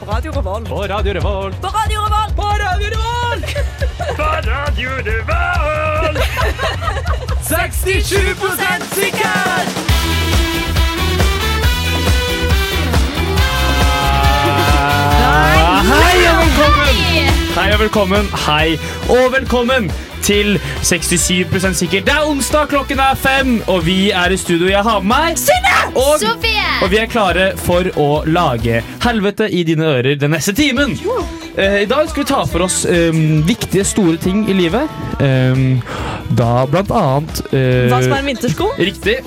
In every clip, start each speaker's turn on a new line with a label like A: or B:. A: på Radio Revolt.
B: På Radio Revolt.
A: På Radio Revolt! På Radio Revolt!
B: 67 sikker! Hei og velkommen! Hei og velkommen. Hei og velkommen til 67 sikker. Det er onsdag, klokken er fem, og vi er i studio. Jeg har med meg Og,
C: Sofie!
B: og vi er klare for å lage helvete i dine ører den neste timen. Eh, I dag skal vi ta for oss eh, viktige, store ting i livet. Eh, da blant annet eh,
A: Hva som er en vintersko?
B: Riktig.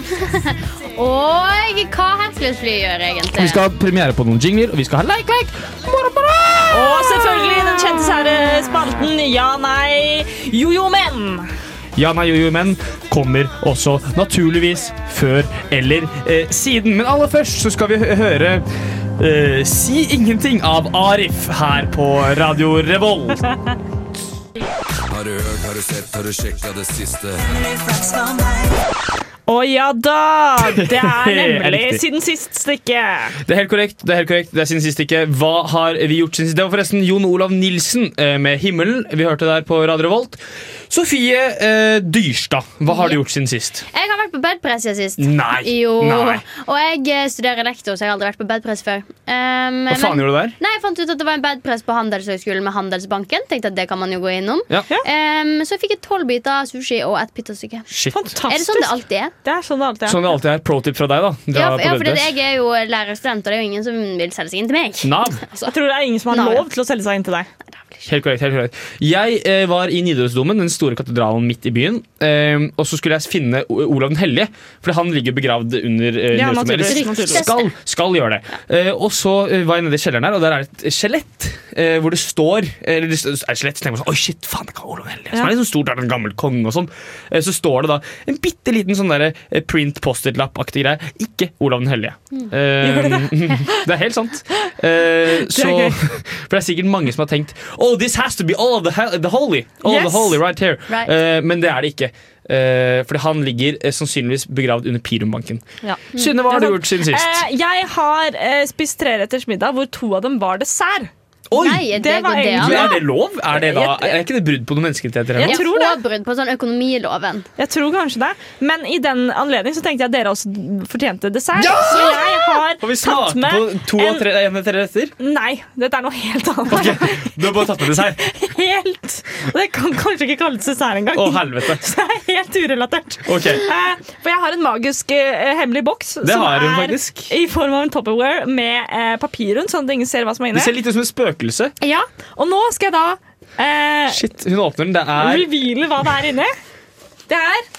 C: Og hva Hercules fly gjør egentlig?
B: Vi skal ha premiere på noen jingler, og vi skal ha leik, leik. Moro, moro.
A: Og selvfølgelig den kjente sære spalten Ja, nei, jojo, men.
B: Ja, nei, jo, jo, men kommer også naturligvis før eller eh, siden. Men aller først så skal vi hø- høre eh, Si ingenting av Arif her på Radio Revolt.
D: Har du hørt, har du sett, har du sjekka det siste?
A: Å ja da! Det er nemlig
B: Riktig.
A: siden sist stykke.
B: Det er helt korrekt. det er helt korrekt, det er siden sist ikke. Hva har vi gjort siden sist? Det var forresten Jon Olav Nilsen eh, med 'Himmelen' vi hørte der på Radio Revolt. Sofie eh, Dyrstad, hva har du gjort siden sist?
C: Jeg har vært på bedpress siden sist.
B: Nei.
C: Jo.
B: Nei.
C: Og jeg eh, studerer lektor, så jeg har aldri vært på bedpress før. Um,
B: Hva faen gjorde du der?
C: Nei, Jeg fant ut at det var en bedpress på Handelshøyskolen med Handelsbanken. Tenkte at det kan man jo gå innom
B: Ja.
C: um, Så fikk jeg tolv biter sushi og ett pitastykke.
B: Shit.
C: Er det sånn det
A: Fantastisk.
C: alltid er?
A: Det er sånn det alltid er.
B: Sånn det alltid er. Pro tip fra deg, da. Dra
C: Ja, for,
B: på
C: ja, fordi
B: bedpress.
C: jeg er jo lærerstudent, og det er jo ingen som vil selge seg inn til meg.
B: Nav.
A: Jeg tror det er ingen som har
C: Nei.
A: lov til å selge seg inn til deg.
B: Helt korrekt. helt korrekt Jeg eh, var i Nidarosdomen, den store katedralen midt i byen. Eh, og så skulle jeg finne O- Olav den hellige, for han ligger begravd under eh,
A: Ja,
B: Nidarosdomen.
A: naturligvis,
B: Eller
A: naturligvis.
B: Skal, skal gjøre det. Eh, og så eh, var jeg nede i kjelleren her, og der er det et skjelett eh, hvor det står Eller det er et skjelett, så tenker jeg sånn Oi, shit, faen, det er ikke Olav den hellige. Som
A: Ja.
B: er litt sånn stort, er det en gammel konge og sånn. Eh, så står det da en bitte liten sånn derre eh, print post-it-lapp-aktig greie. Ikke Olav den hellige.
A: Mm.
B: Eh, det er helt sant. Eh, så,
A: gøy.
B: for det er sikkert mange som har tenkt Oh, this has to be all of the, hel- the holy. All of
A: Yes.
B: the holy right here.
C: Right.
B: Eh, men det er det ikke. Eh, fordi han ligger eh, sannsynligvis begravd under Pirumbanken.
A: Ja.
B: Synne, hva
A: Mm.
B: har
A: Det
B: du
A: er
B: gjort siden sist?
A: Eh, jeg har eh, spist treretters middag, hvor to av dem var dessert.
B: Oi!
C: Nei, det,
A: det var
C: går det
A: egentlig-
C: an?
B: Men er det lov? Er, det da, er ikke det brudd på noen menneskerettigheter? eller
A: Jeg
B: noe?
C: Ja,
A: tror det.
C: Påbrudd på sånn økonomiloven.
A: Jeg tror kanskje det. Men i den anledning så tenkte jeg at dere også fortjente dessert. Så jeg har
B: Har vi
A: tatt
B: smakt
A: med
B: på to av tre, en av tre retter?
A: Nei, dette er noe helt annet.
B: Du har bare tatt med dessert?
A: Helt Og det kan kanskje ikke kalles dessert engang.
B: Å, helvete.
A: Så det er helt urelatert.
B: Ok.
A: Eh, For jeg har en magisk eh, hemmelig boks
B: Det
A: som
B: har hun
A: er
B: faktisk.
A: i form av en Tupperware med eh, papir rundt, sånn at ingen ser hva som er
B: Det ser
A: inni.
B: litt ut som et spøkelse.
A: Ja, og nå skal jeg da eh,
B: Shit, hun åpner den. Det er
A: reveale hva det er inni. Det er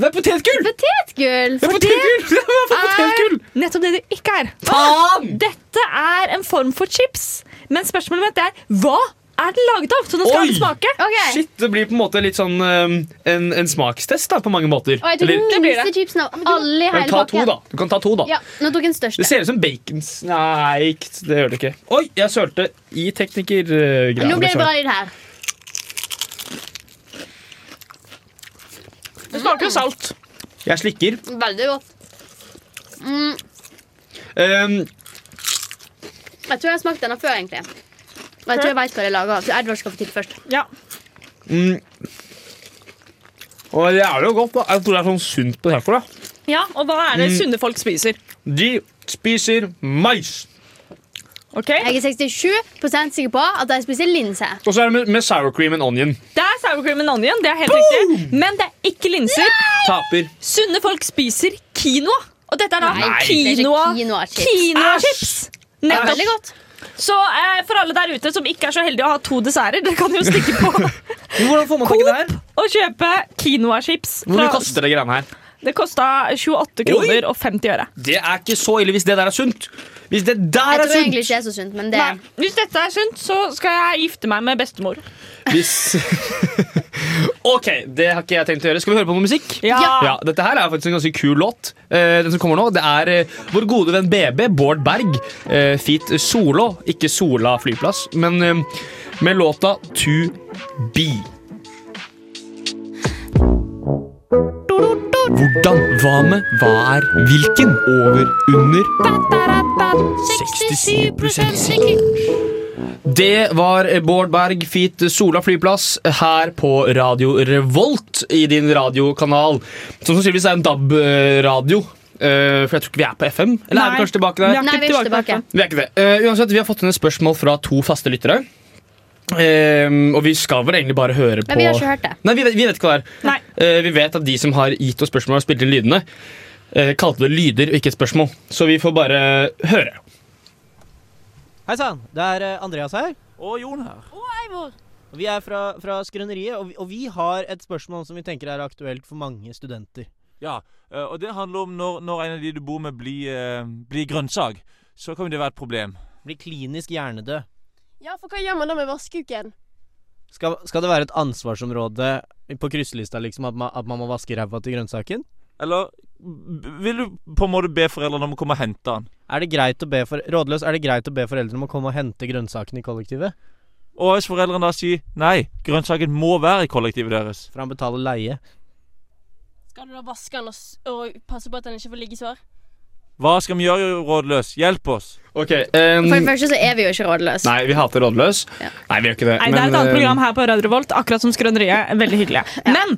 B: Det er potetgull!
C: Potetgull!
B: Det er potetgull! Det er potetgull!
A: nettopp det det ikke er.
B: Faen!
A: Dette er en form for chips, men spørsmålet mitt er hva er den laget av? Så nå skal
B: Oi!
A: den smake.
C: Ah, Ok.
B: Shit, det blir på en måte litt sånn um, en, en smakstest da, på mange måter.
C: Og jeg tok
B: Eller-
C: den
A: blir det.
C: minste chipsen av alle i
B: Men
C: hele
B: ta to,
C: pakken.
B: da. Du kan ta to, da.
C: Ja, nå tok jeg
B: Det
C: den største.
B: ser ut som bacons. Nei, ikke- det gjør det ikke. Oi, jeg sølte i teknikergreiene. liksom.
C: Nå blir det bra lyd her.
A: Det smaker salt.
B: Jeg slikker.
C: Veldig godt. Mm,
B: Um,
C: jeg tror jeg har smakt denne før, egentlig. Og jeg tror jeg vet hva det er laget av. Så Edvard skal få til først.
A: Ja.
B: mm. Og det er jo godt, da. Jeg tror det er sånn sunt på det her for deg.
A: ja, og hva er
B: Mm.
A: det sunne folk spiser?
B: De spiser mais.
A: Ok?
C: Jeg er 67 sikker på at de spiser linse.
B: Og så er det med, med sour cream and onion.
A: Det er sour cream and onion, det er helt riktig. Men det er ikke linser.
B: Taper.
A: Sunne folk spiser quinoa. Og dette er da
C: Nei,
B: det
C: er ikke
A: quinoa-
C: quinoa-chips.
A: quinoa-chips.
C: Det er
A: Nettopp.
C: veldig godt.
A: Så eh, for alle der ute som ikke er så heldige å ha to desserter, dere kan jo stikke på
B: Hvordan får man tak i det her?
A: og kjøpe quinoa-chips.
B: Hvor mye
A: fra-
B: koster det greiene her?
A: Det kosta 28 kroner og 50 øre.
B: Det er ikke så ille hvis det der er sunt. Hvis det der
C: Jeg
B: er
C: tror
B: sunt.
C: egentlig ikke det er så sunt, men det
A: Nei, hvis dette er sunt, så skal jeg gifte meg med bestemor.
B: Hvis OK, det har ikke jeg tenkt å gjøre. Skal vi høre på noe musikk? Ja, Dette her er faktisk en ganske kul låt. Eh, den som kommer nå, det er eh, vår gode venn BB, Bård Berg, uh, feat Solå. Ikke Sola flyplass, men eh, med låta To Be.
C: er
B: Hvordan? Hva med? Hva er? Hvilken? Over? Under? 67% Det var Bård Berg feat Sola flyplass her på Radio Revolt i din radiokanal. Som sannsynligvis er en DAB-radio, eh, for jeg tror ikke vi er på FM. Eller er
A: Nei.
B: vi kanskje tilbake der?
A: Ja.
C: Nei, vi er ikke tilbake.
B: Vi er ikke det. Eh, uansett, vi har fått inn et spørsmål fra to faste lyttere. Eh, og vi skal vel egentlig bare høre på
C: Men vi har ikke hørt det.
B: Nei, vi vet, vi vet ikke hva det er.
A: Nei.
B: Eh, vi vet at de som har gitt oss spørsmål og spilt inn lydene, eh, kalte det lyder og ikke et spørsmål. Så vi får bare høre.
E: Hei sann, det er eh, Andreas her.
F: Og Jon her.
E: Vi er fra, fra Skrøneriet, og vi, og vi har et spørsmål som vi tenker er aktuelt for mange studenter.
F: Ja, eh, og det handler om når, når en av de du bor med blir, eh, blir grønnsag. Så kan jo det være et problem.
E: Blir klinisk hjernedød.
G: Ja, for hva gjør man da med vaskeuken?
E: Skal, skal det være et ansvarsområde på krysselista liksom, at, man, at man må vaske ræva til grønnsaken?
F: Eller b- vil du på en måte be foreldrene om å komme og hente han?
E: Er det greit å be for, rådløs, er det greit å be foreldrene om å komme og hente grønnsakene i kollektivet?
F: Og hvis foreldrene da sier nei, grønnsaken må være i kollektivet deres.
E: For han betaler leie.
G: Skal du da vaske den og, s- og passe på at den ikke får liggesår?
F: Hva skal vi gjøre, rådløs? Hjelp oss!
B: Ok, eh,
C: For det første så er vi jo ikke rådløse.
B: Nei, vi hater Rådløs.
C: Ja.
B: Nei, vi gjør ikke det.
A: Nei, det er
B: men,
A: et annet
B: eh,
A: program her på Radio Revolt, akkurat som Skrøneriet. Veldig hyggelig. Men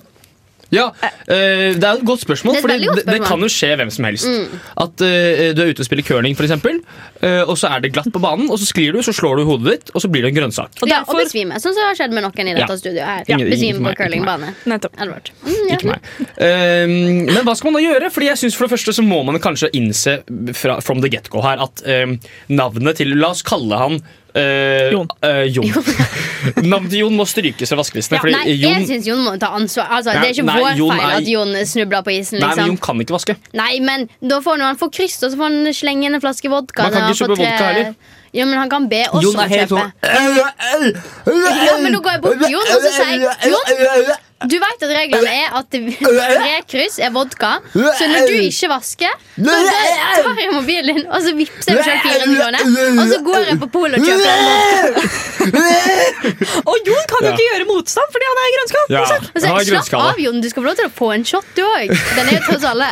B: Ja, eh, Det er et godt spørsmål,
C: Det er et
B: for det,
C: veldig godt
B: det,
C: spørsmål. Mm.
B: kan jo skje hvem som helst. At eh, du er ute og spiller curling, for eksempel, eh, og så er det glatt på banen, og så sklir du, så slår du hodet ditt, og så blir det en grønnsak.
A: og
C: ja, og
A: derfor-
C: besvime. Sånn som har skjedd med noen i dette
B: Ja.
C: studioet her.
B: Ja. Ikke
C: Besvime på
B: meg, ikke
C: curlingbane.
A: Nettopp.
C: Edward. Mm, ja.
B: Ikke meg. Eh, men hva skal man da gjøre? Fordi jeg synes For det første så må man kanskje innse fra, from the get-go her at eh, navnet til La oss kalle han eh,
A: Jon.
B: eh, Jon. navnet til Jon må strykes fra vaskelistene. fordi
C: Nei, jeg
B: Jon,
C: syns Jon må ta ansvar. Altså, det er ikke
B: Nei,
C: vår
B: Jon
C: feil
B: er-
C: at Jon snubler på isen,
B: nei, men
C: liksom.
B: Jon kan ikke vaske.
C: Nei, men da får han, han får kryss, og så får han slenge inn en flaske vodka.
B: Man kan
C: når han
B: ikke
C: får
B: kjøpe vodka heller.
C: Ja, men han kan be oss om å kjøpe.
B: sånn-
C: Ja, men nå går jeg bort til Jon, og så sier jeg Jon, du vet at reglene er at tre kryss er vodka. Så når du ikke vasker, så tar jeg mobilen din, og så vippser jeg selv 400 kroner. Og så går jeg på polet og kjøper en vodka.
A: Og Jon kan jo
B: Ja.
A: ikke gjøre motstand fordi han er i grønnskap!
B: Ja,
A: ikke sant?
B: han
C: Og så
B: har
C: sier jeg, Slapp
B: grønnskalle.
C: av, Jon. Du skal få lov til å få en shot, du òg. Den er jo tross alle.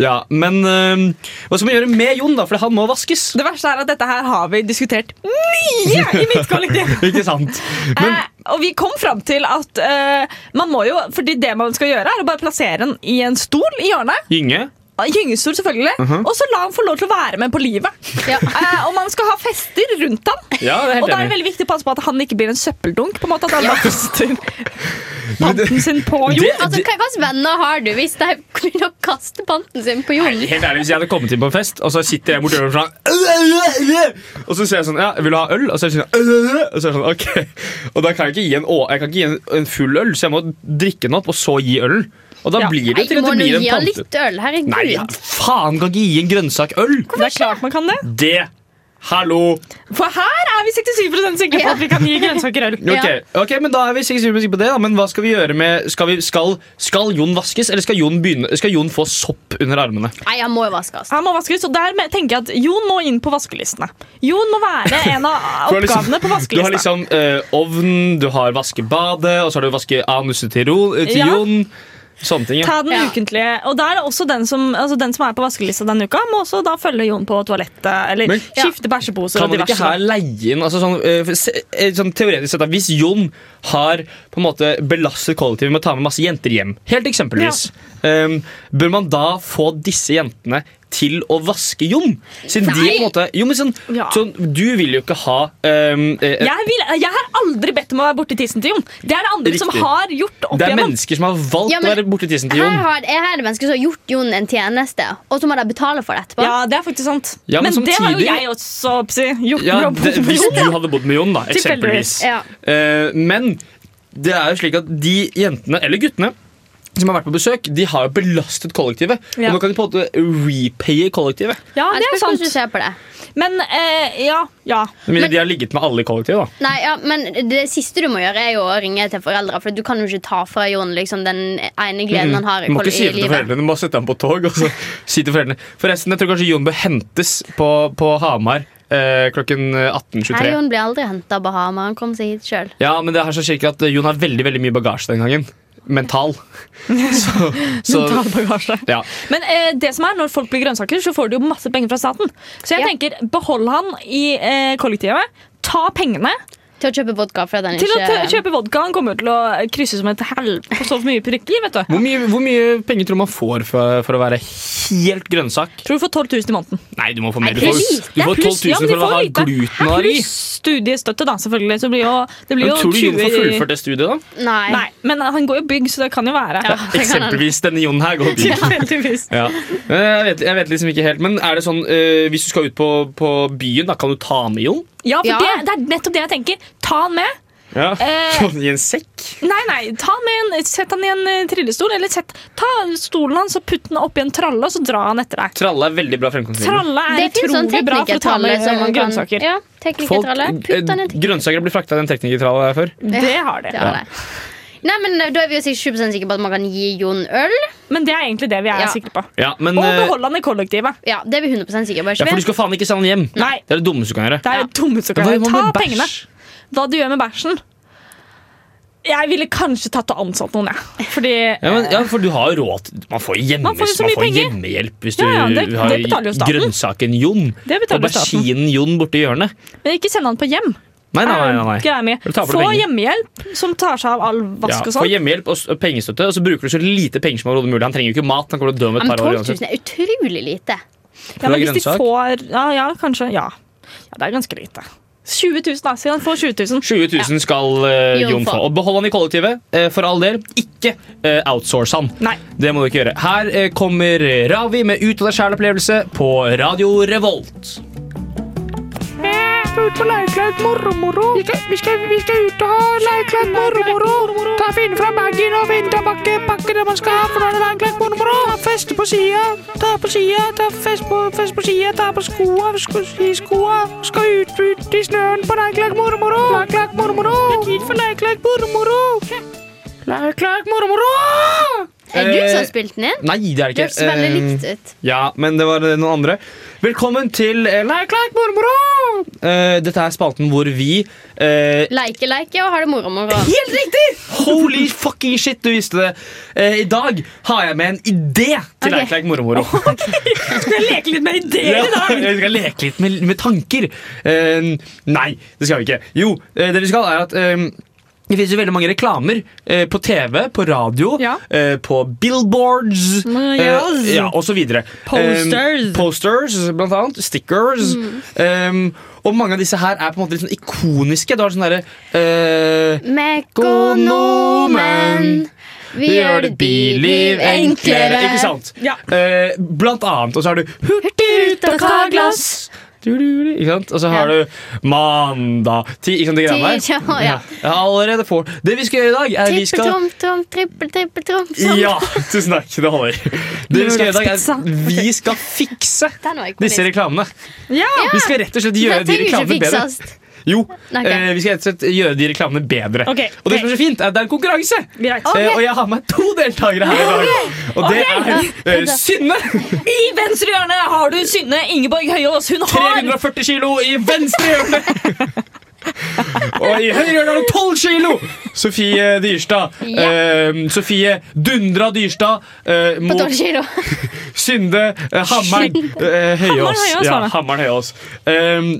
B: Ja, men øhm, hva skal man gjøre med Jon, da? For han må vaskes.
A: Det verste er at dette her har vi diskutert mye i mitt kollektiv.
B: Ikke sant?
A: eh, og vi kom fram til at eh, man må jo Fordi det man skal gjøre, er å bare plassere den i en stol i hjørnet.
B: Gynge?
A: Gyngestol, selvfølgelig.
B: Mhm.
A: Og så la han få lov til å være med på livet.
C: Ja.
A: Eh, og man skal ha fester rundt han.
B: Ja, det er
A: Og da er
B: helt
A: det
B: enig.
A: veldig viktig å passe på at han ikke blir en søppeldunk. På en måte At han bare kaster panten sin på jord.
B: Det-
C: Altså, hva slags venner har du hvis de begynner å kaste panten sin på Jon?
B: Helt ærlig, Hvis jeg hadde kommet inn på en fest, og så sitter jeg borti døren sånn Og så sier jeg sånn Ja, vil du ha øl? Og så er jeg sånn Og så er jeg sånn, ok Og da kan jeg ikke gi en, å, jeg kan ikke gi en, en full øl, så jeg må drikke den opp, og så gi ølen. Og da
A: Ja.
B: blir
C: Nei,
B: det til at
C: må
B: det
C: nå
B: blir
C: gi
B: en
C: han
B: pante.
C: litt øl. Herregud.
B: Nei, ja, faen, kan ikke gi en grønnsak øl!
A: Det er klart man kan det.
B: Det Hallo!
A: For her er vi 67 sikre på at vi kan gi grønnsaker øl.
B: Ok, ok, men da er vi sikkert sikre på det, da. Men hva skal vi gjøre med Skal, vi, skal, skal Jon vaskes, eller skal Jon, begynne, skal Jon få sopp under armene?
C: Nei, han må jo vaskes.
A: Han må vaskes, og der med- tenker jeg at Jon må inn på vaskelistene. Jon må være en av
B: Du har liksom-
A: oppgavene på
B: Du har
A: vaskelista.
B: liksom eh, ovn, du har vaskebadet, og så har du vaske anuset til, ro, eh, til
A: Ja.
B: Jon. Sånne ting, ja.
A: Ta den
C: Ja.
A: ukentlige. Og da er det også den som, altså den som er på vaskelista denne uka, må også da følge Jon på toalettet. Eller
B: Men-
A: skifte bæsjeposer
B: Kan
A: og
B: man ikke
A: diverse.
B: her leie inn altså sånn, eh, for se- eh, sånn Teoretisk sett, da, hvis Jon har på en måte belastet kollektivet med å ta med masse jenter hjem, helt eksempelvis, eh, bør man da få disse jentene til å vaske Jon? Siden de på en måte Jo, men sånn,
A: Ja.
B: sånn Du vil jo ikke ha eh, eh,
A: Jeg, vil, jeg har aldri bedt om å være borti tissen til Jon. Det er det andre som
B: Riktig.
A: har gjort opp
B: Det er
A: igjennom.
B: mennesker som har valgt
C: Ja, men-
B: å være borti tissen til
C: Her
B: Jon.
C: har, her er det mennesker som har gjort Jon en tjeneste, og så må de betale for det etterpå.
A: Ja, det er faktisk sant.
B: Ja,
A: men
B: men
A: det har jo
B: samtidig-
A: jeg også psi, gjort.
B: Ja,
A: bra på-
B: det,
A: på
B: hvis
A: Jon,
B: du
A: ja.
B: hadde bodd med Jon, da, eksempelvis.
A: Tilfeldigvis.
C: Ja.
B: Eh, men det er jo slik at de jentene, eller guttene, som har vært på besøk, de har jo belastet kollektivet.
A: Ja.
B: Og nå kan de på en måte repaye kollektivet.
A: ja,
C: Jeg
A: det er
C: spørs hvordan du
A: sant.
C: ser på det.
A: Men eh, ja. ja.
B: Med mindre de har ligget med alle i kollektivet. da.
C: Nei, ja, men Det siste du må gjøre, er jo å ringe til foreldre. For du kan jo ikke ta fra Jon liksom, den ene gleden han har i,
B: Du må
C: koll-
B: ikke si
C: i
B: det til
C: livet.
B: foreldrene, du må sette ham på tog og så si til foreldrene. Forresten, jeg tror kanskje Jon bør hentes på, på Hamar eh, klokken
C: Nei,
B: 18.23.
C: Jon blir aldri henta av Bahama. Han kom seg hit sjøl.
B: Ja, men det er så slik at Jon har veldig veldig mye bagasje den gangen. mental. Så, så
A: Mental bagasje.
B: ja.
A: Men eh, det som er, når folk blir grønnsaker, så får du jo masse penger fra staten. Så jeg
C: Ja.
A: tenker, behold han i eh, kollektivet. Ta pengene
C: Til å kjøpe vodka fra den
A: til å
C: ikke
A: t- kjøpe vodka. Han kommer jo til å krysse som et helvete på så mye prikker. vet du
B: Hvor mye, hvor mye penger tror du man får for, for å være helt grønnsak?
A: Tror du får 12 000 i måneden.
B: Nei, du må få mer. Du
C: det er
B: får,
C: lite.
B: du får 12
A: Pluss-
B: 000
A: ja, men de
B: for å
A: får
B: ha
A: lite.
B: glutenvarig.
A: Pluss studiestøtte, da, selvfølgelig. Så blir jo, det blir
B: Men
A: jo
B: tror du Jon får
A: 20
B: fullført det studiet, da?
C: Nei.
A: Nei, men han går jo bygg, så det kan jo være.
C: Ja, det kan hende.
B: Eksempelvis denne Jon her går dit.
A: Heldigvis.
B: Ja. Men Jeg, vet, jeg vet liksom ikke helt, men er det sånn eh, hvis du skal ut på, på byen, da kan du ta med Jon?
A: Ja, for
C: Ja.
A: Det, det er nettopp det jeg tenker. Ta han med.
B: Ja.
A: Eh.
B: I en sekk?
A: Nei, nei, ta han med en, Sett han i en eh, trillestol, eller sett, ta stolen hans og putt den oppi en tralle, og så dra han etter deg.
B: Tralle er veldig bra fremkomstmiddel.
A: Tralle
C: Det
A: er
C: finnes sånn
A: utrolig bra for å ta
C: teknikertralle
A: med eh,
C: som man kan
A: grønnsaker.
C: Ja,
B: Folk-
C: teknikertralle.
B: eh,
C: Putt den i en
B: Grønnsaker blir frakta i den teknikertralla før.
A: Det har de.
C: Det var det. Nei, men eh, Da er vi jo sikkert 20 sikre på at man kan gi Jon øl.
A: Men det er egentlig det vi er
C: Ja.
A: sikre på.
B: Ja, men
A: Og
B: eh,
A: beholde han i kollektivet.
C: Ja, det er vi 100 sikre på.
B: ja,
C: ikke
B: for du
C: vi?
B: skal faen ikke sende han hjem.
A: Nei,
B: Det er det dummeste du kan gjøre.
A: det er jo dumme som kan
B: Men hva
A: gjøre.
B: gjør man
A: Ta
B: med bæsj?
A: pengene. Hva du gjør med bæsjen? Jeg ville kanskje tatt og ansatt noen, jeg. Fordi
B: Ja, men, ja, for du har jo råd til- Man får, hjemmes,
A: Eh. Man får jo så
B: man
A: mye
B: får
A: penger.
B: hjemmehjelp hvis du
A: Ja, ja, det-
B: har
A: det betaler jo staten.
B: grønnsaken Jon.
A: det
B: Og
A: betaler staten.
B: bersinen Jon borti hjørnet.
A: Men ikke send han på hjem.
B: Nei, nei, nei. nei, nei.
A: Greia mi.
B: Da taper du
A: Få
B: penger.
A: hjemmehjelp som tar seg av all
B: Ja,
A: vask og sånn.
B: få hjemmehjelp og s- og pengestøtte, og så bruker du så lite penger som overhodet mulig. Han trenger jo ikke mat. Han kommer til å dø om et
C: Ja, men
B: par
C: 12
B: år
C: 000
B: uansett.
C: er utrolig lite.
A: Ja, men hvis de
B: grønnsak.
A: får Ja, ja kanskje. Ja. ja, det er ganske lite. 20 000, da. Si han får 20 000.
B: 20 000 skal eh,
C: Jon
B: Jon få.
C: få.
B: Og behold han i kollektivet, eh, for all del. Ikke eh, outsource han.
A: Nei.
B: Det må du ikke gjøre. Her eh, kommer Ravi med Ut av deg sjæl-opplevelse på Radio Revolt.
C: Er du som
B: Eh,
C: har spilt den inn?
B: Nei, det er
C: Det
B: det
C: høres
B: ikke.
C: veldig
B: Eh,
C: likt ut.
B: Ja, men det var eh, noen andre. Velkommen til eh, Leik, leik, mormor! Eh, dette er spalten hvor vi eh,
C: Leike, leike og har det moro, moro.
B: Helt riktig! Holy fucking shit, du visste det. Eh, I dag har jeg med en idé til
C: Ok.
B: Leik, leik, mormor.
A: Skal jeg leke litt med ideer
B: Ja,
A: i dag?
B: vi skal leke litt med, med tanker. Eh, nei, det skal vi ikke. Jo, eh, det vi skal, er at eh, det finnes jo veldig mange reklamer eh, på TV, på radio,
A: Ja.
B: eh, på billboards
A: Mm,
B: eh,
A: yes.
B: ja, og så videre.
A: Posters. Mm.
B: Eh, posters, blant annet. Stickers. Eh, og mange av disse her er på en måte litt sånn ikoniske. Du har sånn derre eh,
C: Mekonomen. Vi gjør det biliv enklere.
B: Ikke sant?
A: Ja.
B: Eh, blant annet. Og så har du Hurtigruta tar glass. Du-du-du, Ikke sant? Og så har du mandag ti, Ikke sant de greiene
C: Ti,
B: der?
C: ja, ja.
B: Jeg har allerede får. Det vi skal gjøre i dag, er vi skal
C: Trippel-trom-trom, trippel-trippel-trom. Sånn.
B: Ja, tusen takk. Det holder. Det vi skal gjøre i dag, er at vi skal fikse
C: Den var
B: disse
C: ikonisk.
B: reklamene.
A: Ja.
B: Vi skal rett og slett gjøre de
C: Den trenger ikke
B: reklamene bedre.
C: fikses.
B: Jo,
C: Nei, ok.
B: eh, vi skal rett og slett gjøre de reklamene bedre.
A: Ok,
B: Og det som er så fint, er at det er en konkurranse.
A: Greit.
B: Eh, og jeg har med to deltakere her i dag. Og det er eh, Synne.
A: I venstre hjørne har du Synne Ingeborg Høyås. Hun har
B: 340 kilo i venstre hjørne. Og i høyre hjørne har du 12 kilo! Sofie Dyrstad.
C: Ja.
B: Eh, Sofie Dundra Dyrstad eh,
C: På
B: mot
C: 12 kilo.
B: Synde eh, Hammeren eh,
A: Hammeren
B: Høyås.
A: Høyås, var
B: Ja,
A: det.
B: Hammeren Høyås. Eh,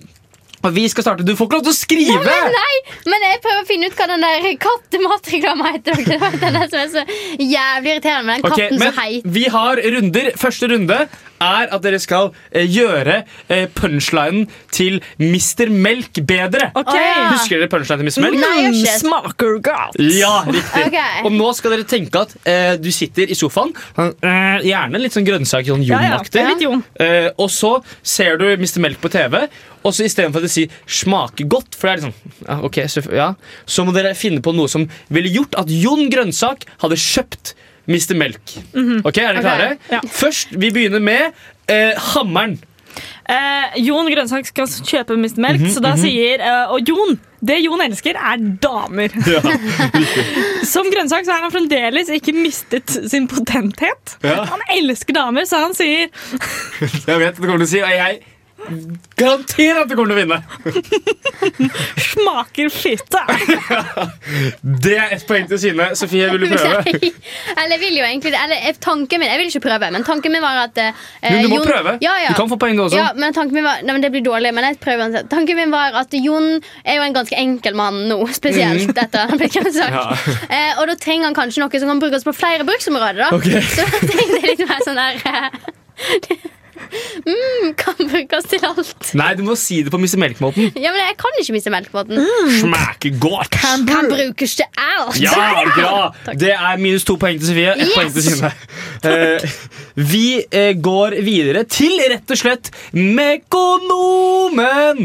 B: og vi skal starte. Du får ikke lov til å skrive!
C: Nei, men jeg prøver å finne ut hva den der kattematreklama heter. dere. Det var Den der som er så jævlig irriterende med den
B: Ok,
C: katten
B: men
C: som heiter
B: Vi har runder. Første runde er at dere skal eh, gjøre eh, punchlinen til Mr. Melk bedre.
A: OK.
C: Å, ja.
B: Husker dere punchlinen til Mr. Melk?
C: Nei, jeg
A: Mm,
C: skjønner.
A: Smaker godt.
B: Ja, riktig.
C: Ok.
B: Og nå skal dere tenke at eh, du sitter i sofaen, sånn, eh, gjerne litt sånn grønnsak, sånn
A: Ja, ja.
B: Jon-aktig.
A: Litt Jon.
B: Eh, og så ser du Mr. Melk på TV, og så istedenfor at de sier 'smaker godt', for det er liksom ja, ok, så, ja, så må dere finne på noe som ville gjort at Jon Grønnsak hadde kjøpt Mr. Melk.
C: Mhm.
B: Ok, Er dere klare?
A: Ja.
B: Først, Vi begynner med eh, hammeren.
A: Eh, Jon Grønnsak skal kjøpe Mr. Melk,
B: Mhm,
A: så da sier eh, Og Jon, det Jon elsker, er damer. Som grønnsak så har han fremdeles ikke mistet sin potenthet.
B: Ja.
A: Han elsker damer, så han sier
B: Jeg vet hva du kommer til å si, og jeg garanterer at du kommer til å vinne!
A: Smaker fitte!
B: Det er ett poeng til Sine. Sofie, vil du prøve?
C: Eller jeg vil jo egentlig det. Eller eh, tanken min Jeg vil ikke prøve, men tanken min var at eh,
B: Men du må
C: Jon-
B: prøve.
C: Ja, ja.
B: Du kan få poeng, du også.
C: Ja, men tanken min var Nei, men Det blir dårlig, men jeg prøver uansett. Tanken min var at Jon er jo en ganske enkel mann nå, spesielt etter han ble grønnsak.
B: Mhm. Ja.
C: Eh, og da trenger han kanskje noe som kan brukes på flere bruksområder, da.
B: Ok.
C: Så da tenkte jeg litt mer sånn der eh, mm, Kan brukes til alt.
B: Nei, du må si det på Mr. Melk-måten.
C: Ja, men jeg kan ikke miste melkebåten.
B: Smaker godt!
C: Kan brukes til alt.
B: Ja, bra! Det er minus to poeng til Sofie. Ett
C: Yes!
B: poeng til Sine. Eh, vi eh, går videre til rett og slett Mekonomen.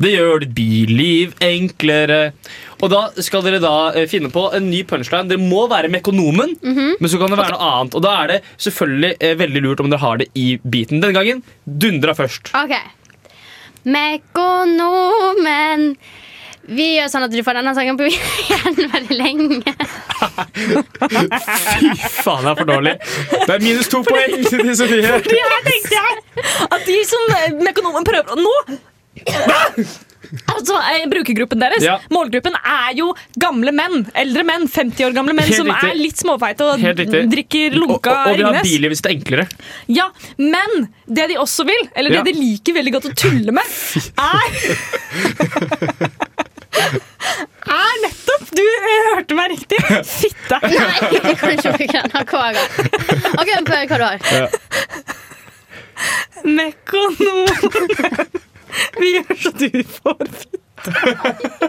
B: Det gjør ditt biliv enklere. Og da skal dere da eh, finne på en ny punchline. Dere må være Mekonomen, men så kan det være noe annet. Og da er det selvfølgelig eh, veldig lurt om dere har det i biten. Denne gangen dundra først.
C: Ok Mekonomen Vi gjør sånn at du får denne sangen på igjen veldig lenge
B: Faen, det er for dårlig. Det er minus to poeng til Sofie.
A: Ja, her tenkte jeg at de som mekonomen prøver å nå Altså, eh, Brukergruppen deres
B: Ah! Ja.
A: Målgruppen er jo gamle menn. Eldre menn. 50 år gamle menn
B: Helt
A: som
B: riktig.
A: er litt småfeite og
B: Helt riktig.
A: drikker
B: Og, og,
A: lunka
B: og vi har
A: Ringnes.
B: billivet sitt enklere.
A: Ja, Men det de også vil, eller
B: Ja.
A: det de liker veldig godt å tulle med, er Er nettopp Du eh, hørte meg riktig. Fitte.
C: Nei, jeg kan ikke bruke den akkurat Ok, men prøv hva du har
A: Mekonomen. Vi gjør så du får
B: Det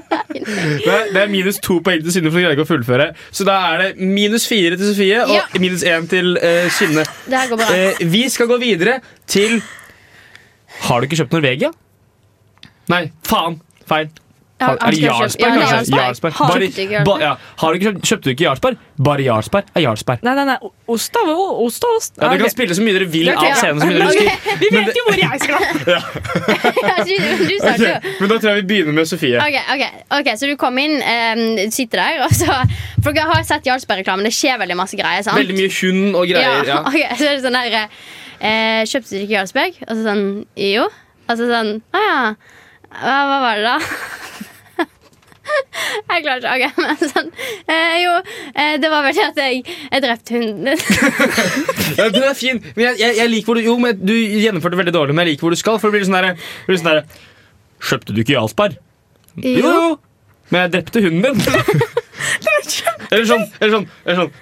B: er, det er minus to poeng til Synne, for hun greier ikke å fullføre. Så da er det minus fire til Sofie og
C: Ja.
B: minus én til eh, Synne.
C: Det her går bra
B: Eh, vi skal gå videre til Har du ikke kjøpt Norvegia? Nei, faen. Feil. Har, er det Jarlsberg, kanskje? Jarlsberg.
C: Har
B: Bare-
C: du ikke Jarlsberg?
B: ba, ja. har du ikke kjøpt, kjøpte du ikke Jarlsberg? Bare Jarlsberg er Jarlsberg.
A: Nei, nei, nei. O- Ost da, o- ost og ost. Ah,
B: Ja,
A: Ok.
B: Dere kan spille så mye dere vil
A: Ja, ok,
B: av
A: ja.
B: scenen. som dere
A: Ok,
B: ønsker.
A: Vi
B: Men
A: vet
B: det-
A: jo hvor jeg skal.
C: Du starter jo
B: Ok, men da tror jeg vi begynner med Sofie.
C: Ok, ok, ok, så du kom inn, eh, sitter der og så, For jeg har sett Jarlsberg-reklamen Det skjer veldig masse greier, sant?
B: Veldig mye hund og greier.
C: ja.
B: Ja.
C: ok, så er det sånn der eh, Kjøpte du ikke Jarlsberg? Og så sånn, jo Og så sånn, åja hva, hva var det da? jeg klarer ikke, ok Men sånn, eh, jo eh, Det var vel det at jeg, jeg drepte hunden
B: Ja, den er fin, men jeg, jeg, jeg liker hvor du Jo, men du gjennomførte veldig dårlig, men jeg liker hvor du skal. For det blir sånn derre det blir sånn derre, Kjøpte du ikke Jarlsberg? Jo, jo. Men jeg drepte hunden din. eller sånn. Eller sånn, eller sånn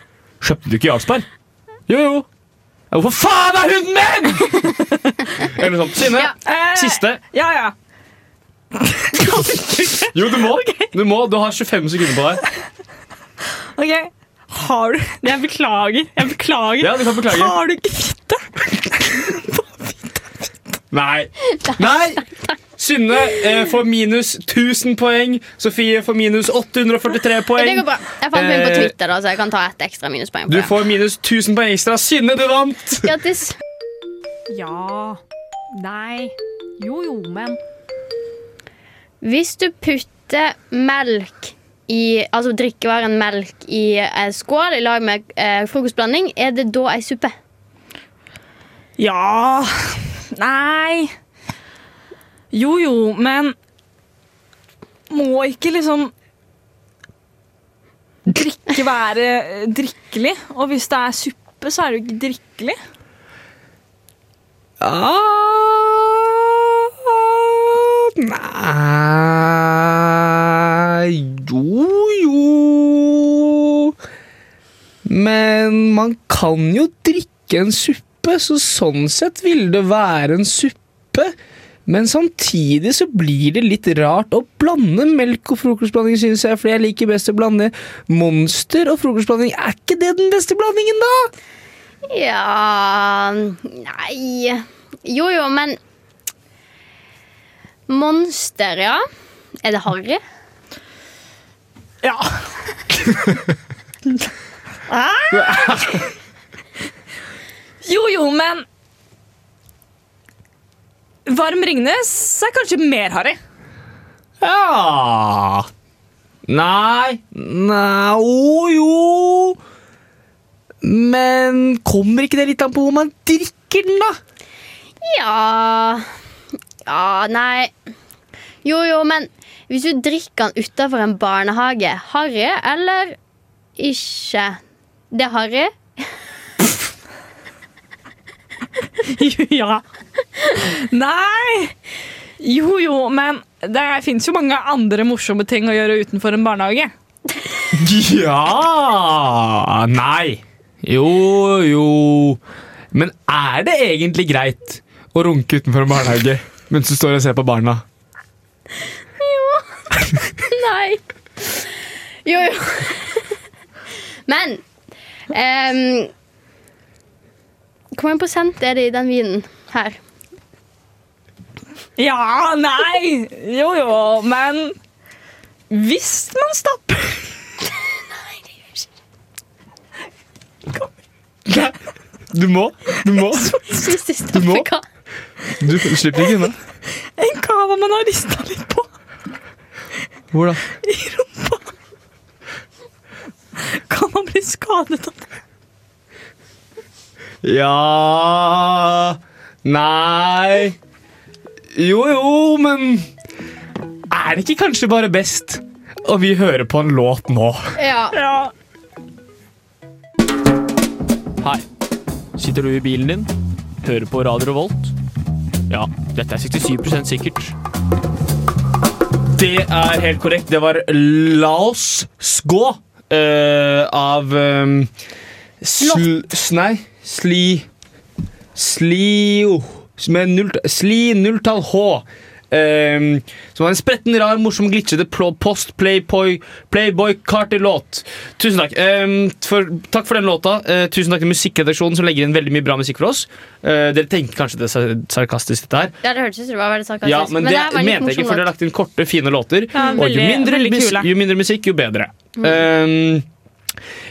B: Kjøpte du ikke Jarlsberg? Jo, jo. Ja, Hvorfor faen er hunden min?! eller sånn. Synne,
A: Eh,
B: siste.
A: Ja, ja.
B: Jo, du må. Du må, du har 25 sekunder på deg.
A: Ok. Har du Jeg beklager. Jeg beklager.
B: Ja, du kan beklage.
A: Har du ikke fitte?
B: Nei. Nei! Synne eh, får minus 1000 poeng. Sofie får minus 843 poeng.
C: Det går bra Jeg fant min på
B: Eh,
C: Twitter da Så jeg kan ta et ekstra minuspoeng på
B: Du
C: det.
B: får minus 1000 poeng ekstra. Synne, du vant!
C: Grattis
A: Ja. Nei. Jo, jo, men
C: Hvis du putter melk i, altså drikkevaren melk i en skål i lag med eh, frokostblanding, er det da ei suppe?
A: Ja. Nei. Jo, jo, men Må ikke liksom drikke være eh, drikkelig? Og hvis det er suppe, så er det jo ikke drikkelig.
B: Nei Jo, jo Men man kan jo drikke en suppe, så sånn sett ville det være en suppe. Men samtidig så blir det litt rart å blande melk og frokostblanding, synes jeg, fordi jeg liker best å blande monster og frokostblanding. Er ikke det den beste blandingen, da?
C: Ja Nei. Jo jo, men Monster, ja. Er det harry?
A: Ja. jo, jo, men Varm Ringnes er kanskje mer harry.
B: Ja Nei Nei Å jo Men kommer ikke det litt an på hvor man drikker den da?
C: Ja Ja, nei Jo, jo, men hvis du drikker den utafor en barnehage, harry eller ikke? Det er harry.
A: ja. Nei! Jo jo, men det fins jo mange andre morsomme ting å gjøre utenfor en barnehage.
B: Ja Nei. Jo, jo. Men er det egentlig greit å runke utenfor en barnehage mens du står og ser på barna?
C: Nei. Jo, jo. Men ehm, Hvor mange prosent er det i den vinen her?
A: Ja, nei! Jo jo, men hvis man stapper
B: Nei. Du må. Du må.
C: Hvis de
B: Du må.
C: stopper hva?
B: Du slipper ikke unna.
A: en kava man har rista litt på
B: Hvor da?
A: i rumpa, kan man bli skadet av det.
B: Ja Nei Jo jo, men Er det ikke kanskje bare best Og vi hører på en låt nå
C: Ja.
A: Ja.
B: Hei Sitter du i bilen din? Hører på Radio Volt? Ja, dette er 67% sikkert Det er helt korrekt Det var La oss gå eh, Av um, sl, s- Nei, sli Slio Med null, Sli nulltall H eh, Som var en spretten, rar, morsom, glitchete pl- Post Playboy, Playboy Carter-låt Tusen takk Eh, for, Takk for den låta Eh, Tusen takk til musikkredaksjonen som legger inn veldig mye bra musikk for oss Eh, Dere tenker kanskje det er sar- sarkastisk dette her
C: Ja, det hørtes ut som det var veldig sarkastisk.
B: ja, men, det,
C: her var en litt
B: mente jeg ikke,
C: morsom
B: for dere har
C: låt.
B: lagt inn korte, fine låter.
A: Ja,
B: og jo
A: veldig-
B: mindre,
A: veldig
B: mus
A: kule. Mm.
B: jo mindre musikk, jo bedre. Um,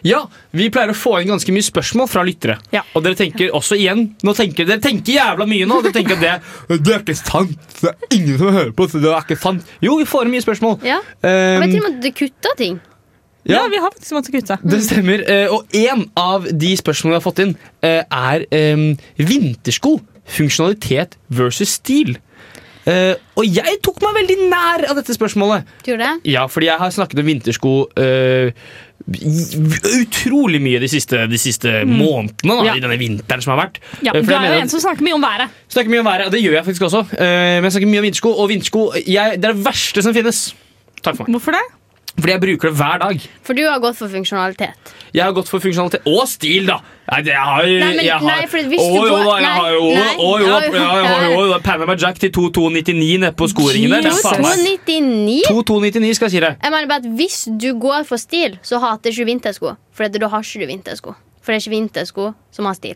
B: ja, vi pleier å få inn ganske mye spørsmål fra lyttere.
A: Ja.
B: Og dere tenker også igjen nå tenker, Dere tenker jævla mye nå. Dere tenker at det, det er ikke sant. Det er ingen som hører på. Så det er ikke sant. Jo, vi får inn mye spørsmål. Ehm,
C: Ja. Jeg vet til og med at du kutter ting.
A: ja,
B: Ja.
A: vi har faktisk måttet kutte.
B: Det stemmer. Eh, Og én av de spørsmålene vi har fått inn, eh, er eh, vintersko. Funksjonalitet versus stil. Eh, Og jeg tok meg veldig nær av dette spørsmålet.
C: Du gjorde det?
B: Ja, fordi jeg har snakket om vintersko eh, utrolig mye de siste, de siste
C: Mm.
B: månedene. Da,
A: Ja.
B: I denne vinteren som har vært.
A: Ja,
B: Eh, for
A: du
B: jeg
A: er jo
B: mener at-
A: en som snakker mye om været.
B: snakker mye om været, og det gjør jeg faktisk også. eh, men jeg snakker mye om vintersko, og vintersko jeg, det er det verste som finnes. Takk for meg.
A: Hvorfor det?
B: Fordi jeg bruker det hver dag.
C: For du har gått for funksjonalitet.
B: Jeg har gått for funksjonalitet og stil, da. Nei, det jeg har
C: Nei, men-
B: jeg har,
C: nei, for hvis
B: Å,
C: du
B: jo,
C: går-
B: da, jeg
C: nei,
B: har jo,
C: nei,
B: å, jo, da,
C: ja,
B: jeg har jo,
C: ja.
B: da, Panama Jack til 2299 nede på skoringen der. Det er faen meg-
C: 299?
B: 2299 skal jeg si deg.
C: Jeg mener bare at Hvis du går for stil, så hater ikke du vintersko. For at da har ikke du vintersko. For det er ikke vintersko som har stil.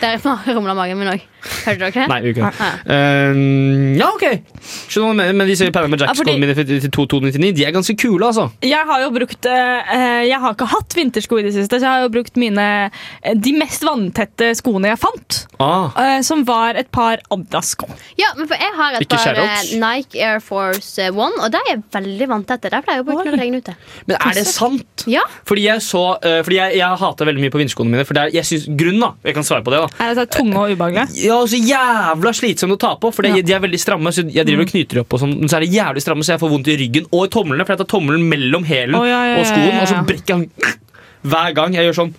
C: Der rumla magen min òg. Hørte dere det?
B: Nei, vi gjør ikke det.
C: Ja.
B: Ehm, ja, ok. Skjønner hva du mener, men disse Panama Jack-skoene
A: fordi-
B: mine for- til 2299, de er ganske kule, altså.
A: Jeg har jo brukt eh, eh, Jeg har ikke hatt vintersko i det siste, så jeg har jo brukt mine eh, De mest vanntette skoene jeg fant.
B: Ah.
A: eh, som var et par Adidas-sko.
C: Ja, men for Jeg har et
B: Ikke
C: par
B: shoutouts.
C: eh, Nike Air Force eh, One, og de er veldig vanntette. De pleier å bruke når det regner ute.
B: Men er det sant?
C: Ja,
B: Fordi jeg så eh, Fordi jeg, jeg hater veldig mye på vinterskoene mine. For det er, jeg synes, grunnen, da. Jeg kan svare på det, da.
A: Er det så tunge og ubehagelige?
B: Ja, og så jævla slitsomt å ta på, for det,
A: Ja. Mm.
B: de er veldig stramme. Så jeg driver og knyter de opp, og sånn, men så er de jævlig stramme, så jeg får vondt i ryggen og i tomlene. For jeg tar tommelen mellom hælen
A: Å, ja, ja,
B: og skoen,
A: ja, ja,
B: og så
A: ja.
B: brekker jeg den hver gang jeg gjør sånn.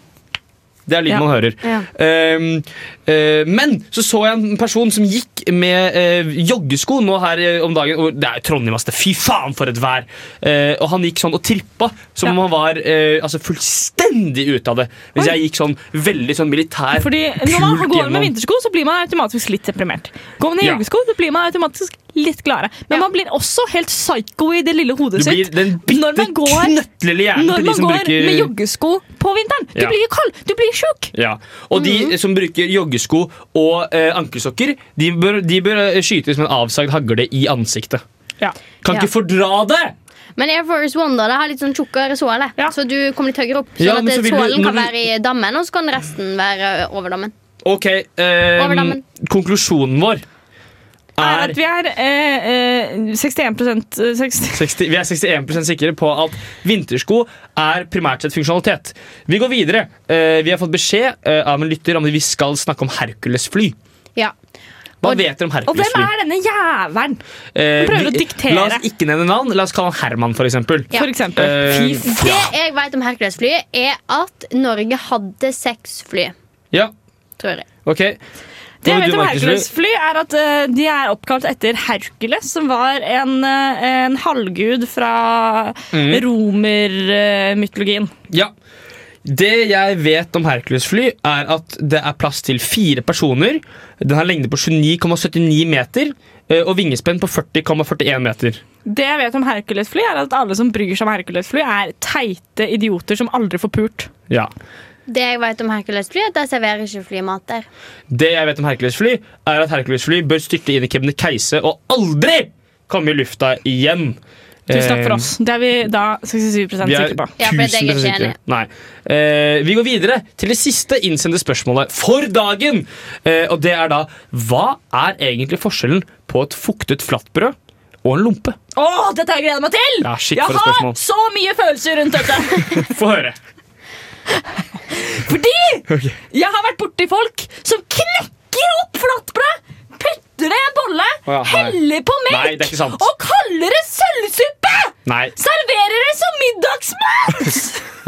B: Det er lyden
A: Ja.
B: man hører.
C: Ja.
B: Ehm, eh, men så så jeg en person som gikk med eh, joggesko nå her eh, om dagen. Og det er jo Trondheim, ass. det- Fy faen, for et vær! Eh, og han gikk sånn og trippa som om
A: Ja.
B: han var eh, altså, fullstendig ute av det. Mens jeg gikk sånn veldig sånn militær
A: Fordi når man
B: pult
A: går med
B: gjennom.
A: vintersko, så blir man automatisk litt deprimert. Går man i
B: Ja.
A: joggesko, så blir man automatisk litt gladere. Men man blir også helt psycho i det lille hodet
B: Du blir
A: sitt.
B: den
A: Når
B: bitte
A: man går-
B: knøttlille hjernen
A: Når
B: til de
A: man
B: som
A: går
B: bruker
A: med joggesko på vinteren. Du
B: Ja.
A: blir jo kald, du blir sjuk.
B: ja. Og
A: Mm.
B: de som bruker joggesko og eh, ankelsokker, de bør, de bør eh, skytes med en avsagd hagle i ansiktet.
A: Ja.
B: Kan
C: Ja.
B: ikke fordra det!
C: Men Air Force One da, det har litt sånn tjukkere såle,
A: Ja.
C: så du kommer litt høyere opp. Sånn
B: Ja,
C: at
B: men så vil du-
C: sålen
B: når
C: kan
B: du-
C: være i dammen, og så kan resten være over dammen.
B: Ok, eh,
C: Over dammen.
B: konklusjonen vår
A: Er
B: er
A: at vi er eh, eh, 61 eh, 60.
B: 60, vi er 61 sikre på at vintersko er primært sett funksjonalitet. Vi går videre. Eh, vi har fått beskjed eh, av en lytter om at vi skal snakke om Hercules-fly.
C: Ja.
B: Hva
A: Og-
B: vet dere om
A: Og hvem
B: Herkulesfly?
A: er denne jævelen?
B: Eh,
A: prøver
B: vi-
A: å diktere.
B: La oss ikke nevne navn. La oss kalle han Herman, for eksempel.
C: Ja.
A: For eksempel.
B: Eh,
A: Fy f-
C: Det jeg vet om Hercules-flyet, er at Norge hadde seks fly.
B: Ja,
C: Tror jeg.
B: ok.
A: Det jeg
B: Hva vil
A: vet
B: du,
A: om
B: Markus, du-
A: Hercules-fly, er at eh, de er oppkalt etter Hercules, som var en, eh, en halvgud fra
B: Mm.
A: eh, romermytologien.
B: Ja. Det jeg vet om Hercules-fly, er at det er plass til fire personer. Den har lengde på 29,79 meter eh, og vingespenn på 40,41 meter.
A: Det jeg vet om Hercules-fly, er at alle som bryr seg om Hercules-fly, er teite idioter som aldri får pult.
B: Ja.
C: Det jeg vet om Hercules-fly, er at de serverer ikke flymat der.
B: Det jeg vet om Hercules-fly, er at Hercules-fly bør styrte inn i Kebnekaise og aldri komme i lufta igjen.
A: Tusen takk for
B: Eh,
A: oss. Det er vi da 67
B: Vi er
A: sikre på.
C: Ja, for det er
B: 1000%
C: jeg ikke
B: sikre.
C: enig i.
B: Nei. Eh, vi går videre til det siste innsendte spørsmålet for dagen. Eh, og det er da Hva er egentlig forskjellen på et fuktet flatbrød og en lompe?
A: Å, dette har jeg gleda meg til!
B: Ja, shit,
A: jeg
B: for et
A: har
B: spørsmål.
A: så mye følelser rundt dette.
B: Få høre.
A: Fordi jeg har vært borti folk som knekker opp flatbrød, putter det i en bolle,
B: Å ja, nei.
A: heller på melk
B: Nei, det er ikke sant.
A: og kaller det sølvsuppe!
B: Nei.
A: Serverer det som middagsmat!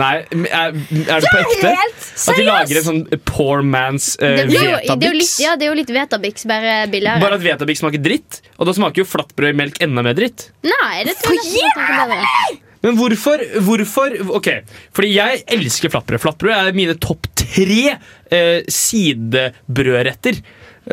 B: Nei. Er, er det på
A: Det
B: ekte?
A: er helt
B: At de lager en
A: seriøst!
B: sånn poor man's eh,
C: Det, det, er jo, det, er jo litt,
B: Vetabix?
C: ja, det er jo litt Vetabix, bare
B: Bare
C: billigere.
B: at Vetabix smaker dritt, og da smaker jo flatbrød i melk enda mer dritt.
C: Nei, det tror jeg ikke smaker bedre.
B: Men hvorfor, hvorfor Ok, fordi jeg elsker flatbrød. Flatbrød er mine topp tre eh, sidebrødretter.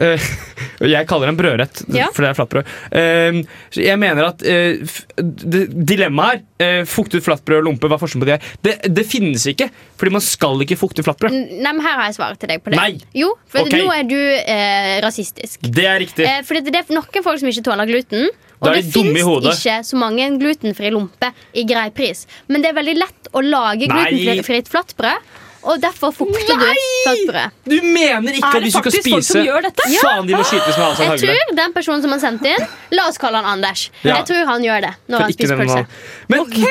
B: Eh, og jeg kaller det en brødrett,
C: Ja.
B: for det er flatbrød. Eh, så jeg mener at eh, f- det- Dilemmaet her, eh, fuktet flatbrød og lompe, hva er forskjellen på det? Det, det finnes ikke, fordi man skal ikke fukte flatbrød.
C: N- Nei, men Her har jeg svaret til deg på det.
B: Nei.
C: Jo, for
B: Ok.
C: nå er du eh, rasistisk.
B: Det er riktig.
C: Eh, fordi det er noen folk som ikke tåler gluten. Og
B: Da er
C: det
B: de dumme i
C: fins
B: hodet.
C: ikke så mange glutenfri lompe i grei pris. Men det er veldig lett å lage
B: Nei.
C: glutenfritt flatbrød, og derfor fukter du flatbrød.
B: Du mener
A: Er
B: ikke at
A: det
B: hvis du skal
A: faktisk folk
B: spise
A: som gjør dette? Ja.
B: Faen, de må skytes med Halvdan
C: Jeg
B: Hagle.
C: tror den personen som har sendt inn La oss kalle han Anders.
B: Ja.
C: Jeg tror han gjør det når
B: For
C: han
B: ikke
C: spiser
B: den
C: pølse.
B: mannen. Men
A: OK, OK,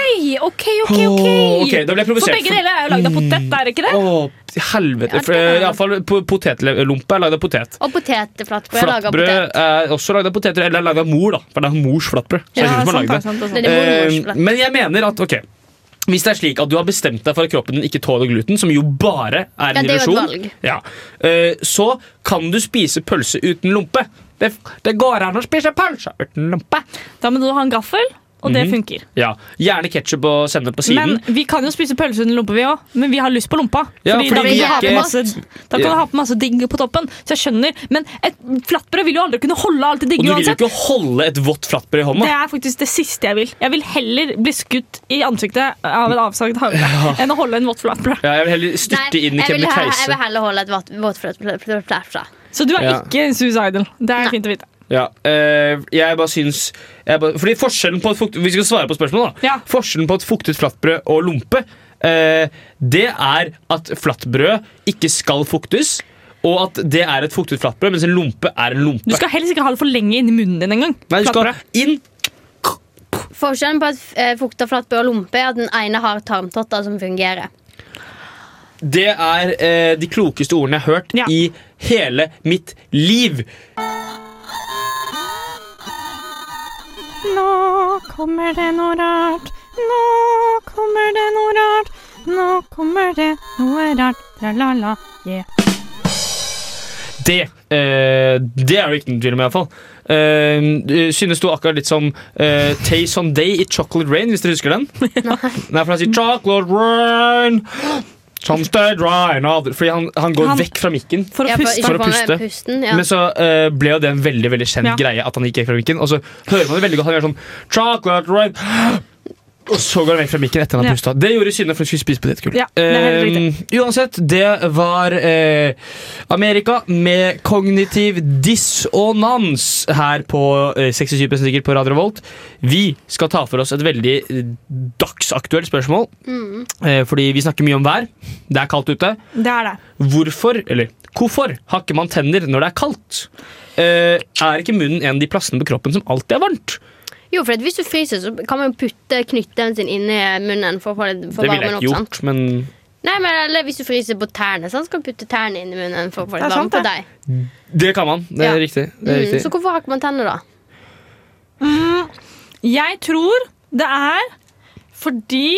A: OK. ok,
B: Åh, ok, da ble jeg provosert.
A: For begge deler er jo lagd av potet, er det ikke det?
B: Åh, helvete.
A: det
B: For,
A: er-
B: eh, i alle fall po- Potetlompe er lagd av potet.
C: Og potetflatbrød. laget av
B: Flatbrød
C: potet.
B: er også lagd av poteter, eller er lagd av mor, da. For det er mors flatbrød. Så jeg
A: Ja, sånn,
B: synes man
A: sant,
B: lager det.
A: sant, sant,
C: Det
A: sant.
C: er det mormors
B: Eh,
C: flatbrød.
B: men jeg mener at ok hvis det er slik at du har bestemt deg for at kroppen din ikke tåler gluten, som jo bare er
C: Ja,
B: en
C: det er jo et
B: illusjon,
C: valg.
B: ja, eh, så kan du spise pølse uten lompe. Det, det går an å spise pølse uten lompe.
A: Da må du ha en gaffel, og
B: Mhm.
A: det funker.
B: Ja, Gjerne ketsjup og sennep på siden.
A: Men vi kan jo spise pølse under lompe, vi òg. Men vi har lyst på lompa.
B: Ja, fordi
A: da, kan
C: vi
A: du ha
C: ikke-
A: på masse, da kan
B: Ja.
A: du ha på masse digg på toppen. Så jeg skjønner. Men et flatbrød vil jo aldri kunne holde alt det
B: og
A: digge
B: du vil jo
A: uansett.
B: ikke holde et vått flatbrød i
A: Det
B: hånda.
A: er faktisk det siste jeg vil. Jeg vil heller bli skutt i ansiktet av en avsagd hagle enn å holde en vått flatbrød.
B: Ja, jeg vil heller
C: Nei,
B: styrte inn i
C: jeg vil, he- jeg
B: Kebnekaise.
C: vil heller holde et våt- våtflatbrød.
A: Så du er
B: Ja.
A: ikke suicidal. Det er
C: Nei.
A: fint å vite.
B: Ja, eh, jeg bare syns jeg bare, Fordi forskjellen på et fukt, Vi skal svare på spørsmålet, da.
A: Ja.
B: Forskjellen på et fuktet flatbrød og lompe, eh, det er at flatbrød ikke skal fuktes, og at det er et fuktet flatbrød, mens en lompe er en lompe.
A: Du skal helst ikke ha det for lenge inni munnen din engang.
B: Nei, du skal
A: Flatbrød.
B: inn
C: Forskjellen på et eh, fukta flatbrød og lompe er at den ene har tarmtotter som fungerer.
B: Det er eh, de klokeste ordene jeg har hørt
A: Ja.
B: i hele mitt liv.
H: Nå kommer det noe rart. Nå kommer det noe rart. Nå kommer det noe rart. Tra-la-la.
B: Det eh, Det er det ikke noen tvil om, iallfall. Uh, Eh, synes du akkurat litt som uh, Tayson Day i Chocolate Rain, hvis dere husker den? Nei, for han sier 'Chocolate Rain'. Someday rain other- Fordi han, han går
A: Han-
B: vekk fra mikken.
A: For å
C: Ja,
A: puste.
C: ikke
B: For å
C: få med
B: puste.
C: Pusten, ja.
B: Men så eh, ble jo det en veldig veldig kjent
A: Ja.
B: greie at han gikk vekk fra mikken. Og så hører man det veldig godt. Han gjør sånn Chocolate rain Og så går han vekk fra mikken etter han har
A: Ja.
B: pusta. Det gjorde Synne for hun skulle spise potetgull.
A: Ja, det er helt
B: Eh, uansett, det var eh, Amerika med kognitiv dissonans her på eh, 67 sikkert på Radio Volt. Vi skal ta for oss et veldig eh, dagsaktuelt spørsmål.
A: Mm.
B: Eh, fordi vi snakker mye om vær. Det er kaldt ute.
A: Det er det.
B: Hvorfor, eller hvorfor hakker man tenner når det er kaldt? Eh, er ikke munnen en av de plassene på kroppen som alltid er varmt?
C: Jo, for at hvis du fryser, så kan man jo putte knyttneven sin inni munnen for å få, litt- få
B: det ville jeg
C: varmen opp.
B: ikke
C: sant?
B: gjort, men
C: Nei, men eller Hvis du fryser på tærne, sånn, så kan du putte tærne inn i munnen for å få
A: Det
C: litt
A: er
C: vann
A: sant,
C: på
A: det.
C: deg.
B: Det kan man. Det er
C: Ja.
B: riktig. Det er
C: Mm,
B: riktig.
C: så hvorfor har ikke man tenner, da?
A: Jeg tror det er fordi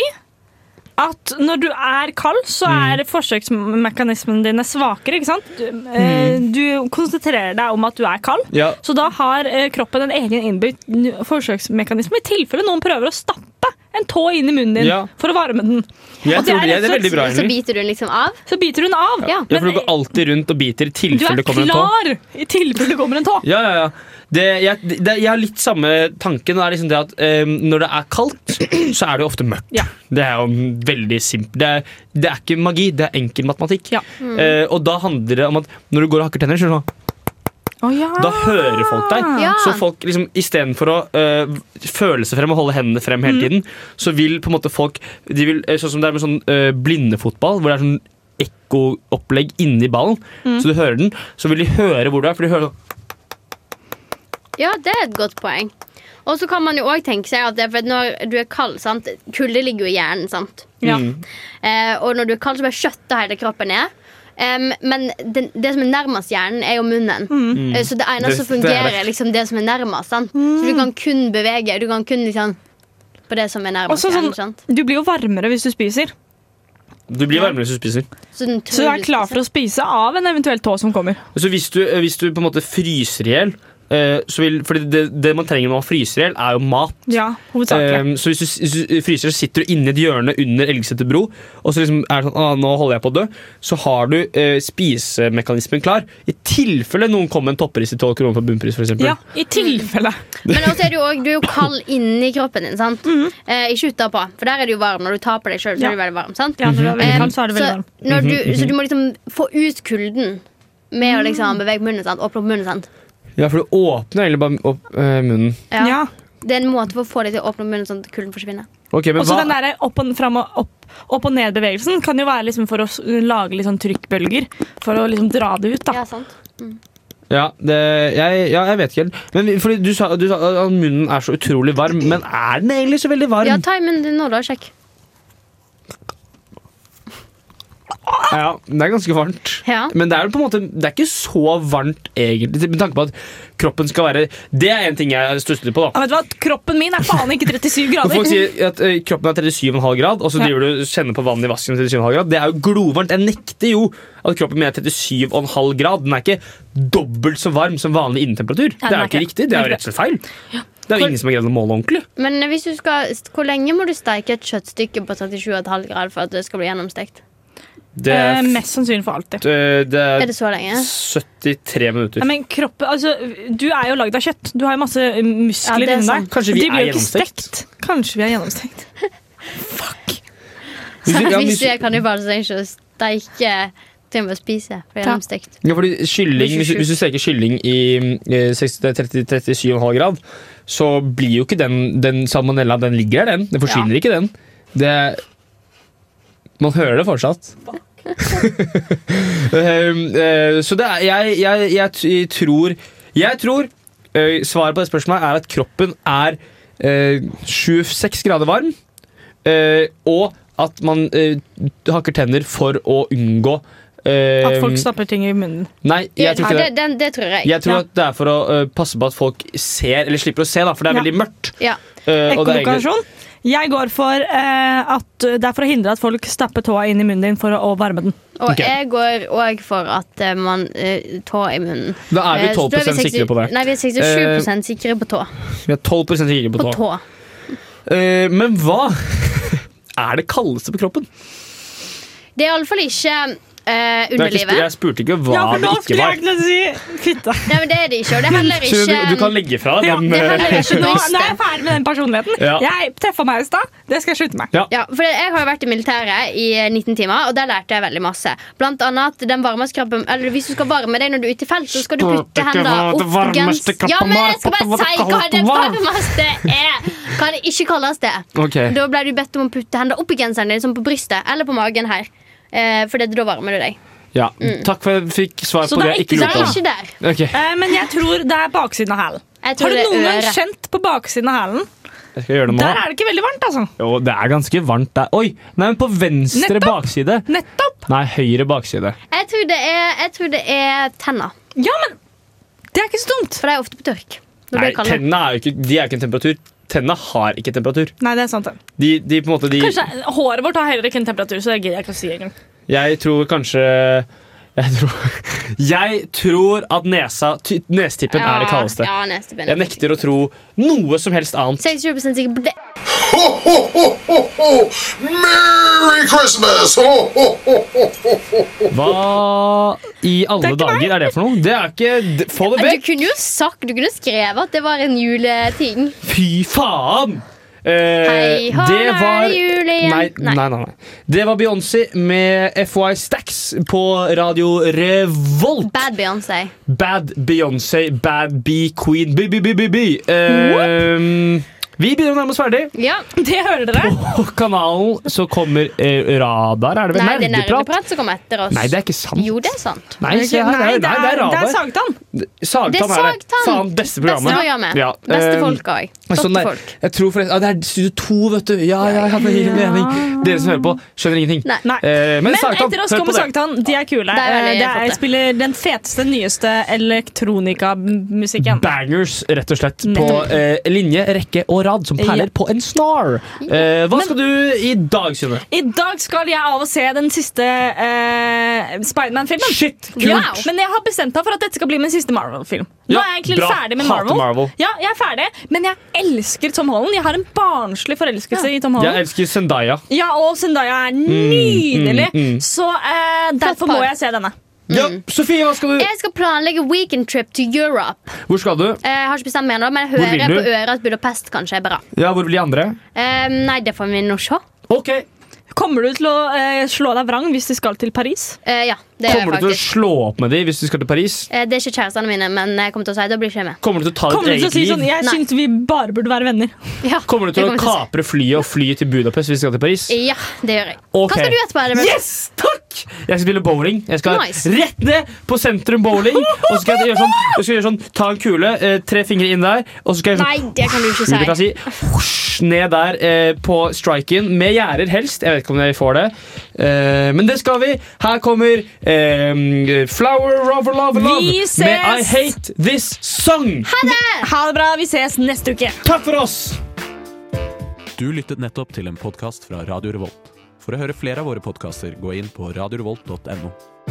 A: at når du er kald, så
B: Mm.
A: er forsøksmekanismene dine svakere. ikke sant? Du, eh,
B: Mm.
A: du konsentrerer deg om at du er kald,
B: Ja.
A: så da har eh, kroppen en egen innbygd n- forsøksmekanisme i tilfelle noen prøver å stappe en tå inn i munnen din
B: Ja.
A: for å varme den.
B: Jeg
A: Og det
B: tror
A: er
B: det, det
A: rett
B: er
A: og
B: veldig bra,
C: Så
B: Henrik.
C: biter du den liksom av?
A: Så biter hun av.
C: Ja.
B: Ja, for
A: Men eh,
B: du går alltid rundt og biter
A: du
B: i tilfelle
A: er
B: det kommer en tå.
A: klar i tilfelle det kommer en tå.
B: Ja, ja, ja. Det, jeg, det, jeg har litt samme tanken. Det er liksom det at eh, Når det er kaldt, så er det jo ofte mørkt.
A: Ja.
B: Det er jo veldig simpelt. Det, er- det er ikke magi, det er enkel matematikk.
A: Ja.
B: Eh, og da handler det om at når du går og hakker tenner, så er det sånn, da hører folk deg.
C: Ja.
B: Så folk liksom istedenfor å eh, føle seg frem og holde hendene frem hele tiden, så vil på en måte folk de vil, eh, Sånn som det er med sånn eh, blindefotball, hvor det er sånn ekkoopplegg inni ballen, så du hører den, så vil de høre hvor du er, for de hører sånn
C: Ja, det er et godt poeng. Og så kan man jo òg tenke seg at det er for når du er kald sant? Kulde ligger jo i hjernen, sant?
A: Ja.
B: mm,
C: Eh, og når du er kald, så bare skjøtter hele kroppen ned. Em, men det, det som er nærmest hjernen, er jo munnen.
A: Mm.
C: Eh, Så det eneste
B: Mm. Det-
C: som
B: det er
C: fungerer,
B: det.
C: er liksom det som er nærmest. Sant?
A: Mm.
C: Så du kan kun bevege Du kan kun liksom på det som er
A: Og
C: nærmest
A: så sånn,
C: hjernen. Sant?
A: du blir jo varmere hvis du spiser,
B: Du blir varmere hvis du spiser.
C: Så, den
A: så du er klar for å spise av en eventuell tå som kommer.
B: Så hvis du, eh, hvis du på en måte fryser i hjel eh, For det, det man trenger når man fryser i hjel, er jo mat.
A: Ja, hovedsakelig.
B: Eh, så hvis du, s- hvis du fryser, så sitter du inni et hjørne under Elgeseter bro, og så liksom er det sånn ah, 'Nå holder jeg på å dø.' Så har du eh, spisemekanismen klar. I tilfelle noen kommer med en topperis til 12 kroner på bunnpris, f.eks.
A: ja, I tilfelle.
C: Men også er du, også, du er jo kald inni kroppen din, sant? Eh, ikke utapå, for der er du jo varm. Når du tar på deg sjøl, så
A: Mm. Ja.
C: er du veldig varm. Sant?
A: Ja, når du
B: Mhm.
A: er
B: Ehm,
A: veldig
C: Eh,
A: kald, så er du veldig varm.
C: når du, så du må liksom få ut kulden med å liksom bevege munnen. Sant? Åpne opp munnen. Sant?
B: ja, for du åpner egentlig bare opp eh, munnen.
C: Ja.
A: Ja.
C: Det er en måte for å få deg til å åpne opp munnen sånn at kulden forsvinner.
B: Ok, men
A: Og så den
B: hva-
A: der opp og, fram og opp, opp og ned-bevegelsen kan jo være liksom for å s- lage litt sånn trykkbølger. For å liksom dra det ut, da.
C: Ja, sant?
B: Ja, det, jeg, ja, jeg vet ikke helt. Men fordi du sa, du sa at munnen er så utrolig varm. Men er den egentlig så veldig varm?
C: Ja, ta i munnen din nå, da. Sjekk.
B: Ja, det er ganske varmt.
C: Ja.
B: Men det er på en måte Det er ikke så varmt, egentlig, med tanke på at kroppen skal være Det er en ting jeg stusser litt på. da
A: Ja, vet du hva? Kroppen min er faen ikke 37
B: Når folk
A: grader!
B: sier at eh, kroppen er 37,5 grad, og så
A: Ja.
B: driver du og kjenner på vannet i vasken, 37,5 grad Det er jo glovarmt. Jeg nekter jo at kroppen min er 37,5 grad. Den er ikke dobbelt så varm som vanlig innetemperatur.
A: den
B: det er
A: er
B: jo ikke
A: ikke.
B: riktig. Det er jo rett og slett feil. Det er jo ingen som har greid å måle ordentlig.
C: Men hvis du skal, hvor lenge må du steike et kjøttstykke på 37,5 grader for at det skal bli gjennomstekt?
B: Det
A: Eh,
B: er,
A: mest sannsynlig for alltid.
B: eh, det
C: Er
B: er
C: det så lenge?
B: 73
A: Ja,
B: minutter.
A: men kroppen, altså, du er jo lagd av kjøtt. Du har jo masse eh, muskler
C: Ja, det
A: inni
C: er
A: deg.
C: sant.
B: Kanskje vi
A: De blir
B: er
A: jo ikke
B: gjennomstekt?
A: stekt. Kanskje vi er gjennomstekt.
B: Hvis du- ja,
C: hvis
B: hvis-
C: du er kannibal, så trenger du ikke å steike til å spise. For det er
A: Ja.
C: gjennomstekt.
B: Ja, fordi kylling,
A: Blir
B: hvis,
A: tjukk.
B: hvis du steker kylling i eh, 60 30 37,5 grad, så blir jo ikke den, den salmonella Den ligger der, den. Den forsvinner ikke, den. Det Man hører det fortsatt. Um, eh, så det er Jeg, jeg, jeg, t- tror Jeg tror eh, svaret på det spørsmålet er at kroppen er eh, 26 grader varm, eh, og at man eh, hakker tenner for å unngå eh,
A: At folk stapper ting i munnen.
B: Nei, jeg tror
C: ja,
B: ikke det.
C: det, den- det tror jeg.
B: Jeg tror
A: Ja.
B: at det er for å ø, passe på at folk ser, eller slipper å se, da, for det er
A: Ja.
B: veldig mørkt.
C: Ja.
B: Eh, og det er egentlig-
A: Ekkolokasjon. Jeg går for eh, at det er for å hindre at folk stapper tåa inn i munnen din for å, å varme den.
C: Og
B: Ok.
C: jeg går òg for at eh, man uh, tå i munnen.
B: da er vi
C: Eh, så
B: 12
C: da er vi
B: sikre på det.
C: Nei, vi er 67 sikre på tå.
B: Vi er 12 sikre på
C: På
B: tå.
C: tå.
B: Eh, men hva er det kaldeste på kroppen?
C: Det er iallfall ikke eh,
B: Det er ikke,
C: underlivet.
B: jeg spurte ikke hva
A: ja, for
B: det
A: nå
B: ikke
A: skulle
B: var.
A: jeg kunne si fitte.
C: Nei, men det er det ikke. Og det er heller
B: Så du,
C: ikke
B: du kan legge fra deg
A: Ja,
B: den
A: det
B: eh,
A: kan jeg
C: eh,
A: gjøre. Nå, nå er jeg
C: turisten.
A: ferdig med den personligheten.
B: Ja.
A: Jeg treffa meg i stad. Det skal jeg slutte med.
C: ja, for jeg har jo vært i militæret i 19 timer, og der lærte jeg veldig masse. Blant annet at den varmeste kroppen Eller hvis du skal varme deg når du er ute i felt, så skal du putte hendene opp gens... Ja, men jeg skal bare si hva det varmeste er! Hva det ikke kalles det.
B: Ok.
C: Da ble du bedt om å putte hendene opp i genseren din, som på brystet eller på magen her. Eh, for det, da varmer du deg.
B: Ja. Takk for at jeg fikk svar
A: Så
B: på
A: det
B: det
A: er
B: jeg ikke
A: ikke
B: lurte
C: Så det
B: om.
C: er ikke der.
B: Ok.
A: Eh, men jeg tror det er baksiden av hælen.
C: Jeg
A: Har
C: tror
A: du
C: det er
A: noen gang
C: øret.
A: kjent på baksiden av hælen
B: Jeg skal gjøre det nå.
A: Der er det ikke veldig varmt, altså.
B: Jo, det er ganske varmt der. Oi! Nei, men på venstre
A: Nettopp.
B: bakside.
A: Nettopp!
B: Nei, høyre bakside.
C: Jeg tror det er, jeg tror det er tenner.
A: Ja, men det er ikke så dumt.
C: For de er ofte på tørk. Når
B: Nei,
C: det er kaldt.
B: tennene er jo ikke, de er jo ikke en temperatur. Tennene har ikke temperatur.
A: Nei, det er sant. det.
B: De, de på en måte, de
A: Kanskje håret vårt har heller ikke en temperatur, så det gidder jeg ikke å si engang.
B: Jeg tror kanskje Jeg tror, jeg tror at nesa ty, Nestippen er det kaldeste.
C: Ja, neste
B: Jeg nekter å tro noe som helst annet.
C: 67 sikker på det.
I: Merry Christmas! Ho, ho, ho, ho, ho.
B: Hva i alle dager er det for noe? Det er ikke det- Få det
C: Du
B: vekk!
C: kunne jo sagt, du kunne skrevet at det var en juleting.
B: Fy faen! Eh,
C: Hei, hå, nå er det jul igjen.
B: Nei, nei,
C: Nei.
B: nei, nei. Det var Beyoncé med FY Stacks på Radio Revolt.
C: Bad Beyoncé.
B: Bad Beyoncé, Bad B Queen, B-B-B-B-B. Ehm, vi begynner å nærme oss ferdig.
C: Ja.
A: Det hører dere.
B: På kanalen så kommer eh, Radar. Er det vel
C: Nei, det er
B: nerdeprat?
C: nerdeprat som kommer etter oss.
B: Nei, det er ikke sant.
C: Jo, det er sant.
B: Nei, se her, det
A: Nei, det
B: er, nei, det er
A: er, det er
B: Radar.
A: Sagtann.
C: Det er
B: Sagtann er det.
C: Sagtann.
B: Faen, beste programmet.
C: Beste programmet.
B: Ja,
C: Beste
B: eh,
C: folk òg. Flotte
B: sånn der-
C: folk.
B: Jeg tror forresten, ja, Det er Studio 2, vet du. Ja, ja, ja, det gir en mening. Dere som hører på, skjønner ingenting.
C: Nei.
A: Nei.
B: Eh, men
A: Men
B: Sagtann,
A: etter oss
B: hør på
A: kommer
B: det.
A: Sagtann. De er kule.
C: Det er veldig
A: Eh, det er,
C: flotte.
A: spiller den feteste, nyeste elektronikamusikken.
B: Bangers, rett og slett. På
A: Nettopp.
B: eh, linje, rekke og rad, som perler på en snar. Eh, hva skal du i dag, Synne?
A: I dag skal jeg av og se den siste eh, Spiderman-filmen.
B: Shit, kult!
A: Ja, men jeg har bestemt meg for at dette skal bli min siste Marvel-film. Nå
B: Ja,
A: er jeg egentlig
B: bra.
A: ferdig med
B: Hater
A: Marvel.
B: Marvel.
A: Ja, jeg er ferdig, Men jeg elsker Tom Holland. Jeg har en barnslig forelskelse i Tom
B: Jeg
A: Holland.
B: elsker Zendaya.
A: Ja, Og Zendaya er nydelig,
B: mm, mm.
A: så eh, derfor
C: par.
A: må jeg se denne.
B: Ja,
C: Mm.
B: Sofie, hva skal du?
C: Jeg skal planlegge weekend trip to Europe. Eh,
B: Hvor skal du?
C: Jeg har ikke bestemt meg ennå, men jeg
B: Hvor vil
C: hører
B: du?
C: på øret at Budapest kanskje er bra.
B: Ja, Hvor blir de andre?
C: Eh, nei, det får vi nå se.
B: Ok,
A: Kommer du til å eh, slå deg vrang hvis du skal til Paris?
C: Eh, ja, det gjør jeg
B: Kommer du til å
C: faktisk.
B: slå opp med dem hvis du skal til Paris?
C: Eh, det er ikke kjærestene mine, men jeg kommer til å si det. Blir ikke jeg med.
B: Kommer du til å ta
A: Kommer
B: ditt
A: du til å
B: eget
A: si
B: liv?
A: sånn, Jeg
C: Nei.
A: syns vi bare burde være venner.
C: Ja,
B: Kommer du til
C: det
B: å
C: kommer jeg
B: kapre flyet og fly til Budapest hvis du skal til Paris?
C: si. Ja, det gjør jeg.
B: Ok.
C: Hva skal du gjøre på det?
B: Yes! Takk! Jeg skal spille bowling. Jeg skal
C: Nice.
B: rett ned på sentrum bowling. Og så skal jeg gjøre sånn, jeg skal gjøre sånn ta en kule, eh, tre fingre inn der, og så skal jeg
C: Nei, det kan du ikke
B: sånn,
C: si.
B: si, husj, ned der eh, på striken, med gjerder helst. Jeg vet ikke om dere får det. Eh, men det skal vi. Her kommer eh, Flower Rover Love Love
A: Vi
B: med I
A: ses!
B: Hate This Song.
A: Ha det bra. Vi ses neste uke.
B: Takk for oss!
J: Du lyttet nettopp til en podkast fra Radio Revolt. For å høre flere av våre podkaster, gå inn på radiorevolt.no.